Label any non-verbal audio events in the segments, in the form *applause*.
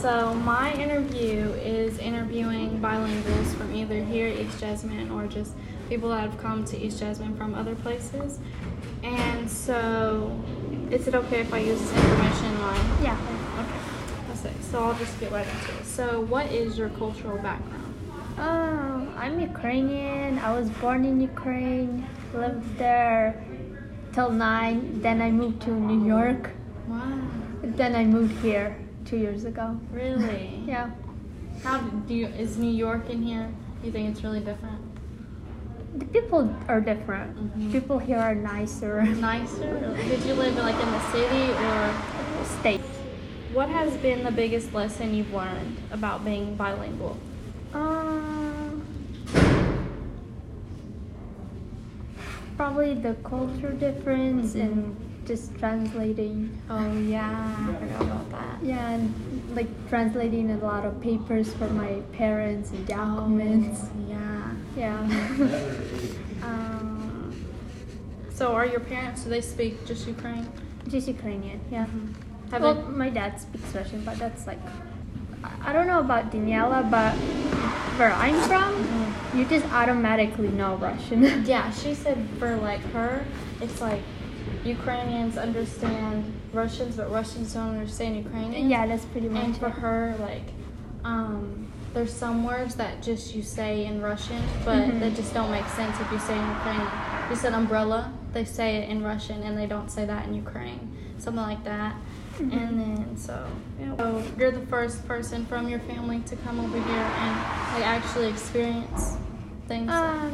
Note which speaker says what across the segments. Speaker 1: So my interview is interviewing bilinguals from either here at East Jasmine or just people that have come to East Jasmine from other places. And so, is it okay if I use this information like?
Speaker 2: Yeah.
Speaker 1: Okay. That's it. So I'll just get right into it. So what is your cultural background?
Speaker 2: Um, I'm Ukrainian. I was born in Ukraine, lived there till nine. Then I moved to New York.
Speaker 1: Wow.
Speaker 2: Then I moved here two years ago.
Speaker 1: *laughs* Really?
Speaker 2: Yeah.
Speaker 1: How do, do you, is New York in here? You think it's really different?
Speaker 2: The people are different. People here are nicer. *laughs*
Speaker 1: Nicer? Did you live like in the city or?
Speaker 2: State.
Speaker 1: What has been the biggest lesson you've learned about being bilingual?
Speaker 2: Um, probably the culture difference and just translating.
Speaker 1: Oh yeah, I forgot about that.
Speaker 2: Yeah, and like translating a lot of papers for my parents and documents.
Speaker 1: Mm. Yeah.
Speaker 2: Yeah. *laughs* Uh,
Speaker 1: Um, so are your parents? Do they speak just Ukraine?
Speaker 2: just Ukrainian, yeah.
Speaker 1: Have
Speaker 2: well, my dad speaks Russian, but that's like. I- I don't know about Daniela, but where I'm from, you just automatically know Russian.
Speaker 1: they- Mm-hmm. *laughs* yeah, she said for like her, it's like Ukrainians understand Russians, but Russians don't understand Ukrainians.
Speaker 2: *laughs* yeah, that's pretty much
Speaker 1: And for
Speaker 2: it.
Speaker 1: her, like, um, there's some words that just you say in Russian, but that just don't make sense if you say in Ukrainian. You said umbrella, they say it in Russian, and they don't say that in Ukraine, something like that. And then so, yeah. so you're the first person from your family to come over here and like actually experience things.
Speaker 2: Um,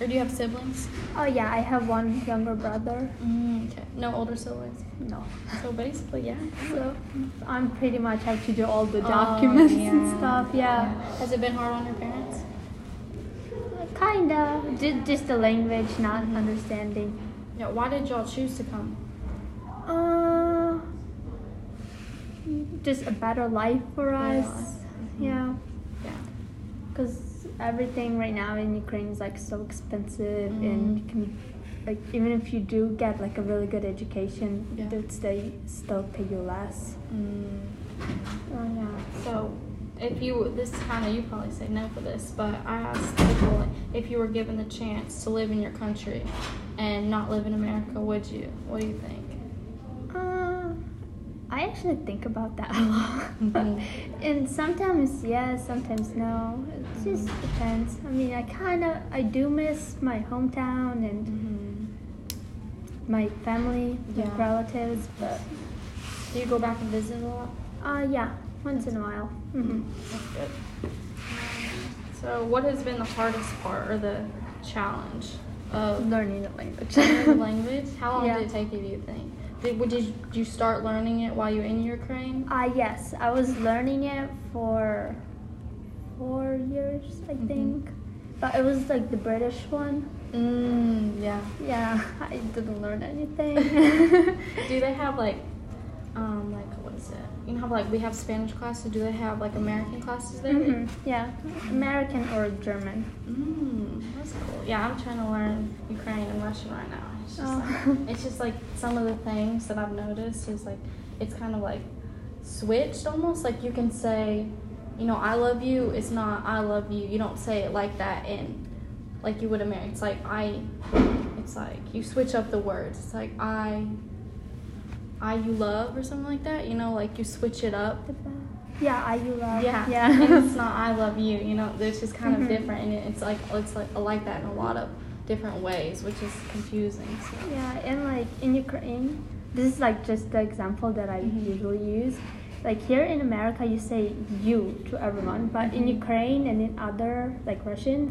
Speaker 1: or do you have siblings?
Speaker 2: oh yeah, I have one younger brother.
Speaker 1: Mm, okay, no older siblings.
Speaker 2: No. *laughs*
Speaker 1: So basically, yeah.
Speaker 2: So I'm pretty much have to do all the documents and
Speaker 1: Oh, yeah.
Speaker 2: stuff. Yeah,
Speaker 1: Has it been hard on your parents?
Speaker 2: kinda. Just, just the language, not understanding.
Speaker 1: Yeah. Why did y'all choose to come?
Speaker 2: Uh, just a better life for us. Yeah,
Speaker 1: Yeah.
Speaker 2: because everything right now in Ukraine is like so expensive, and you can, like even if you do get like a really good education,
Speaker 1: Yeah.
Speaker 2: they'd stay, still pay you less.
Speaker 1: Mm.
Speaker 2: Oh yeah.
Speaker 1: So, if you, this is kind of, you probably say no for this, but I asked people if you were given the chance to live in your country and not live in America, would you? What do you think?
Speaker 2: Uh, I actually think about that a
Speaker 1: Mm-hmm.
Speaker 2: lot. *laughs* and sometimes yes, sometimes no. It just depends. I mean, I kind of I do miss my hometown and
Speaker 1: Mm-hmm.
Speaker 2: my family,
Speaker 1: Yeah.
Speaker 2: my relatives, but
Speaker 1: Do you go back and visit a lot?
Speaker 2: uh yeah, once in a while. hmm
Speaker 1: That's good. So, what has been the hardest part or the challenge of
Speaker 2: Learning the language.
Speaker 1: learning *laughs* the language? How long
Speaker 2: Yeah.
Speaker 1: did it take you, do you think? Did, would you, did you start learning it while you were in Ukraine?
Speaker 2: *laughs* Uh, yes, I was learning it for four years, I
Speaker 1: Mm-hmm.
Speaker 2: think. But it was like the British one.
Speaker 1: Mm, yeah.
Speaker 2: Yeah, *laughs* I didn't learn
Speaker 1: *laughs*
Speaker 2: anything. *laughs*
Speaker 1: Do they have like, um, like what is it? You know how like we have Spanish classes. Do they have like American classes there?
Speaker 2: Mhm, Yeah, American or German.
Speaker 1: Mm, that's cool. Yeah, I'm trying to learn Ukrainian and Russian right now. It's just,
Speaker 2: Oh.
Speaker 1: like, it's just like some of the things that I've noticed is like it's kind of like switched almost. Like you can say, you know, I love you. It's not I love you. You don't say it like that in like you would American. It's like I. It's like you switch up the words. It's like I. I you love or something like that. You know, like you switch it up.
Speaker 2: *laughs* Yeah, I you love.
Speaker 1: Yeah.
Speaker 2: yeah.
Speaker 1: *laughs* and it's not I love you, you know, it's just kind
Speaker 2: Mhm.
Speaker 1: of different and it's like it's like I like that in a lot of different ways, which is confusing. So
Speaker 2: yeah, and like in Ukraine, this is like just the example that I
Speaker 1: Mm-hmm.
Speaker 2: usually use. Like here in America, you say you to everyone, but in
Speaker 1: Mm-hmm.
Speaker 2: Ukraine and in other like Russians,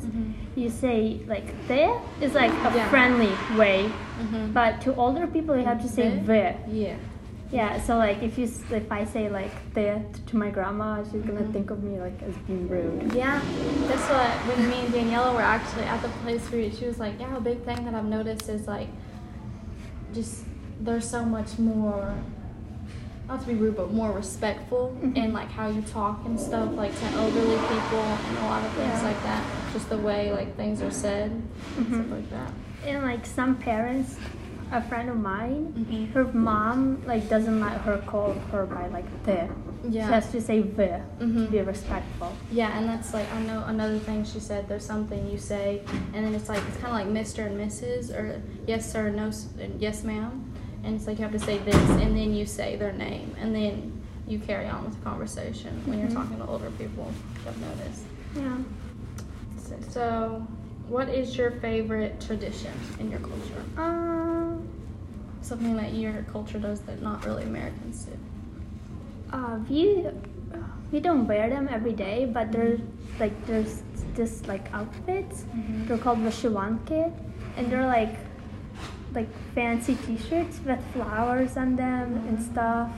Speaker 2: you say like they is like a
Speaker 1: Yeah.
Speaker 2: friendly way,
Speaker 1: Mhm.
Speaker 2: but to older people you have to say
Speaker 1: They?
Speaker 2: they.
Speaker 1: yeah.
Speaker 2: Yeah, so like if you s- if I say like the to my grandma, she's gonna
Speaker 1: Mm-hmm.
Speaker 2: think of me like as being rude.
Speaker 1: Yeah. That's what when me and Daniela were actually at the place where she was like, Yeah, a big thing that I've noticed is like just there's so much more not to be rude, but more respectful in like how you talk and stuff, like to elderly people and a lot of things
Speaker 2: Yeah.
Speaker 1: like that. Just the way like things are said, and stuff like that.
Speaker 2: And like some parents, a friend of mine, her mom like doesn't let her call her by like the.
Speaker 1: Yeah.
Speaker 2: So I have to say "вы" to
Speaker 1: Mhm.
Speaker 2: be respectful.
Speaker 1: Yeah, and that's like I know another thing she said. There's something you say, and then it's like it's kind of like Mister and Mrs. or yes sir, no, s- and yes ma'am, and it's like you have to say this, and then you say their name, and then you carry on with the conversation when you're
Speaker 2: Mhm.
Speaker 1: talking to older people. I've noticed.
Speaker 2: Yeah.
Speaker 1: So, so, what is your favorite tradition in your culture?
Speaker 2: Um.
Speaker 1: Something that your culture does that not really Americans do.
Speaker 2: Uh, we we don't wear them every day, but there's like there's this like outfits.
Speaker 1: Mhm.
Speaker 2: They're called vashiwanke, and they're like like fancy T-shirts with flowers on them and stuff.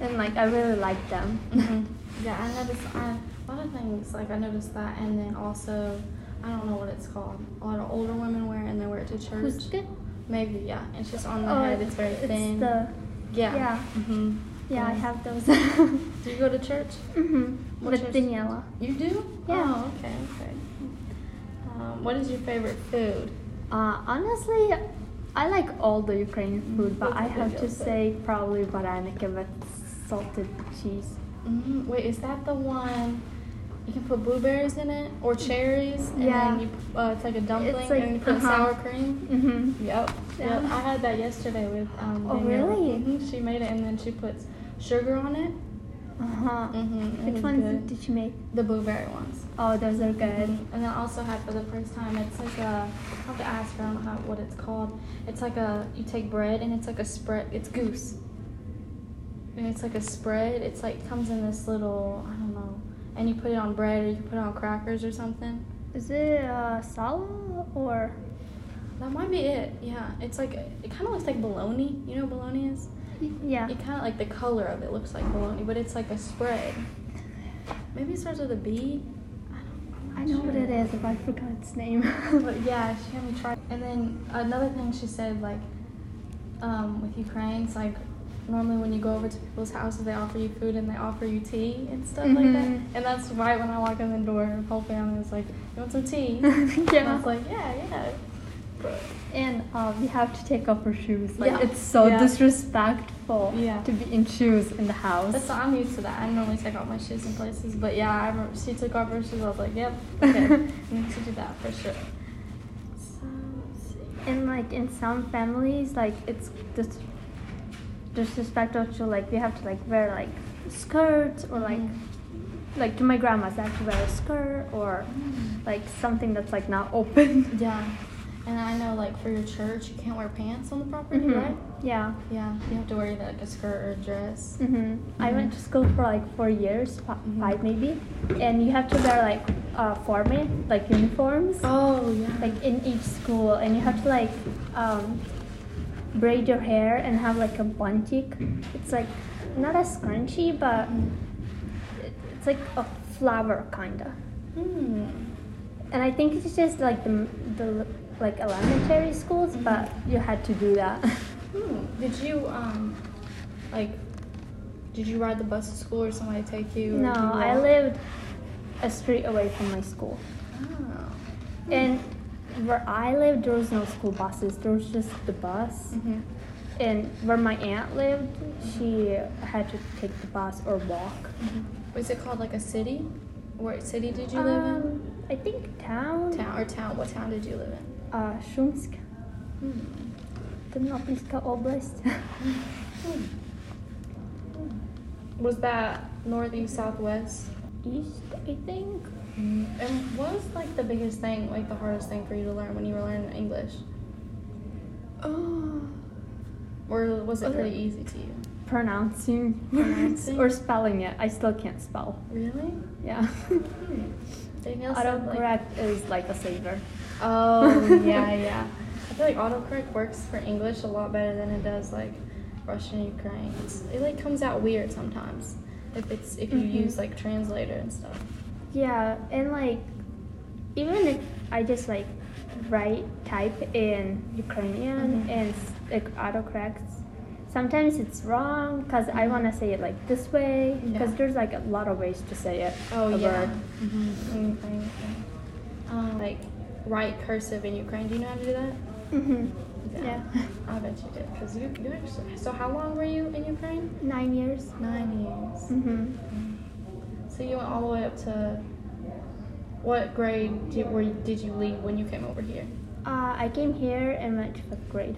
Speaker 2: And like I really like them.
Speaker 1: Mm-hmm. *laughs*
Speaker 2: Mm-hmm.
Speaker 1: Yeah, I noticed I, a lot of things. Like I noticed that, and then also, I don't know what it's called. A lot of older women wear, it and they wear it to church.
Speaker 2: Kuske?
Speaker 1: Maybe yeah. It's just on the
Speaker 2: Oh,
Speaker 1: head. It's very thin.
Speaker 2: the
Speaker 1: yeah.
Speaker 2: yeah.
Speaker 1: hmm
Speaker 2: yeah I have those. *laughs* mm-hmm.
Speaker 1: Do you go to church? What
Speaker 2: With
Speaker 1: church?
Speaker 2: Daniela.
Speaker 1: You do?
Speaker 2: Yeah.
Speaker 1: Oh, okay. Okay. Um, what is your favorite food?
Speaker 2: Uh, honestly, I like all the Ukrainian food, but
Speaker 1: That's
Speaker 2: I
Speaker 1: a good
Speaker 2: have to
Speaker 1: answer.
Speaker 2: say probably baraniki with salted cheese.
Speaker 1: Mm, wait, is that the one? You can put blueberries in it or cherries, and
Speaker 2: Yeah.
Speaker 1: then you, uh, it's like a dumpling,
Speaker 2: like-
Speaker 1: and you put
Speaker 2: uh-huh.
Speaker 1: sour cream.
Speaker 2: Mm-hmm.
Speaker 1: Yep.
Speaker 2: Yeah.
Speaker 1: Yep. I had that yesterday with um.
Speaker 2: Oh,
Speaker 1: Danielle.
Speaker 2: really?
Speaker 1: Mhm, She made it and then she puts sugar on it.
Speaker 2: Uh-huh.
Speaker 1: Mhm, it
Speaker 2: Which
Speaker 1: was
Speaker 2: ones
Speaker 1: good.
Speaker 2: did you make?
Speaker 1: The blueberry ones.
Speaker 2: Oh, those are good.
Speaker 1: Mhm. And then I also had for the first time. It's like a. I have to ask her. I don't know how, what it's called. It's like a. You take bread and it's like a spread. It's goose. And it's like a spread. It's like comes in this little. I don't know. And you put it on bread or you put it on crackers or something.
Speaker 2: Is it uh, sala or?
Speaker 1: That might be it. Yeah. It's like it kind of looks like bologna. You know what bologna is.
Speaker 2: Yeah.
Speaker 1: It kind of like the color of it looks like bologna, but it's like a spread. Maybe it starts with a B. I don't. I'm
Speaker 2: I
Speaker 1: not
Speaker 2: know what
Speaker 1: sure.
Speaker 2: it is, but I forgot its name.
Speaker 1: But
Speaker 2: *laughs*
Speaker 1: yeah, she had me try. And then another thing she said, like, um, with Ukraine's like, normally when you go over to people's houses, they offer you food and they offer you tea and stuff like that.
Speaker 2: Mhm.
Speaker 1: And that's right when I walk in the door, her whole family was like, "You want some tea?" And I
Speaker 2: *laughs* yeah.
Speaker 1: was like, "Yeah, yeah." But
Speaker 2: And uh, we have to take off our shoes. Like
Speaker 1: Yeah.
Speaker 2: it's so
Speaker 1: Yeah.
Speaker 2: disrespectful
Speaker 1: Yeah.
Speaker 2: to be in shoes in the house.
Speaker 1: That's I'm used to that. I normally take off my shoes in places, but yeah, I remember she took off her shoes. I was like, yep, okay, need to do that for sure. So let's see.
Speaker 2: And like in some families, like it's dis- disrespectful to like we have to like wear like skirts or like like to my grandma's I have to wear a skirt or like something that's like not *laughs* open.
Speaker 1: Yeah, and I know like for your church, you can't wear pants on the property,
Speaker 2: Mhm.
Speaker 1: right?
Speaker 2: Yeah.
Speaker 1: Yeah, you have to wear either like a skirt or a dress.
Speaker 2: hmm I went to school for like four years, fi-
Speaker 1: Mhm.
Speaker 2: five maybe, and you have to wear like uh, formal like uniforms.
Speaker 1: Oh yeah.
Speaker 2: like in each school and you have to like um, braid your hair and have like a buntik it's like not a scrunchie but it- it's like a flower kinda
Speaker 1: hmm.
Speaker 2: and i think it's just like the, the like elementary schools but you had to do that *laughs*
Speaker 1: Hmm. Did you um, like, did you ride the bus to school or somebody take you? or
Speaker 2: no
Speaker 1: did you
Speaker 2: i
Speaker 1: walk?
Speaker 2: lived a street away from my school
Speaker 1: Oh.
Speaker 2: and where i lived there was no school buses there was just the bus
Speaker 1: hmm
Speaker 2: And where my aunt lived, she had to take the bus or walk.
Speaker 1: Was it called like a city? What city did you live in?
Speaker 2: Um, I think town.
Speaker 1: Town or town? What town did you live in?
Speaker 2: Uh, Shumsk,
Speaker 1: Hmm.
Speaker 2: Ternopilska Oblast. *laughs*
Speaker 1: Was that northeast, southwest?
Speaker 2: East, I think.
Speaker 1: Mm-hmm. And what was like the biggest thing, like the hardest thing for you to learn when you were learning English,
Speaker 2: Oh.
Speaker 1: or was it
Speaker 2: Okay.
Speaker 1: pretty easy to you?
Speaker 2: Pronouncing words
Speaker 1: Pronouncing?
Speaker 2: *laughs* or spelling it. I still can't spell.
Speaker 1: Really? *laughs*
Speaker 2: Yeah.
Speaker 1: Hmm. Danielle
Speaker 2: *laughs*
Speaker 1: said, like-
Speaker 2: Autocorrect is like a saver.
Speaker 1: Oh *laughs* yeah, yeah. I feel like autocorrect works for English a lot better than it does like Russian and Ukraine. It's, it like comes out weird sometimes if it's if you
Speaker 2: Mhm.
Speaker 1: use like translator and stuff.
Speaker 2: Yeah, and like, even if I just like write, type in Ukrainian
Speaker 1: Mhm.
Speaker 2: and s- like autocorrects, sometimes it's wrong because I want to say it like this way because
Speaker 1: Yeah.
Speaker 2: there's like a lot of ways to say it.
Speaker 1: Oh
Speaker 2: a
Speaker 1: yeah. Mm-hmm.
Speaker 2: word.
Speaker 1: Anything. Um, like right cursive in Ukraine. Do you know how to do that?
Speaker 2: Mhm.
Speaker 1: Yeah.
Speaker 2: Yeah. *laughs*
Speaker 1: I bet you did. Cause you, you actually. So how long were you in Ukraine?
Speaker 2: Nine years.
Speaker 1: Nine years.
Speaker 2: Mm-hmm.
Speaker 1: So you went all the way up to. What grade did, were, you- did you leave when you came over here?
Speaker 2: Uh, I came here in my fifth grade.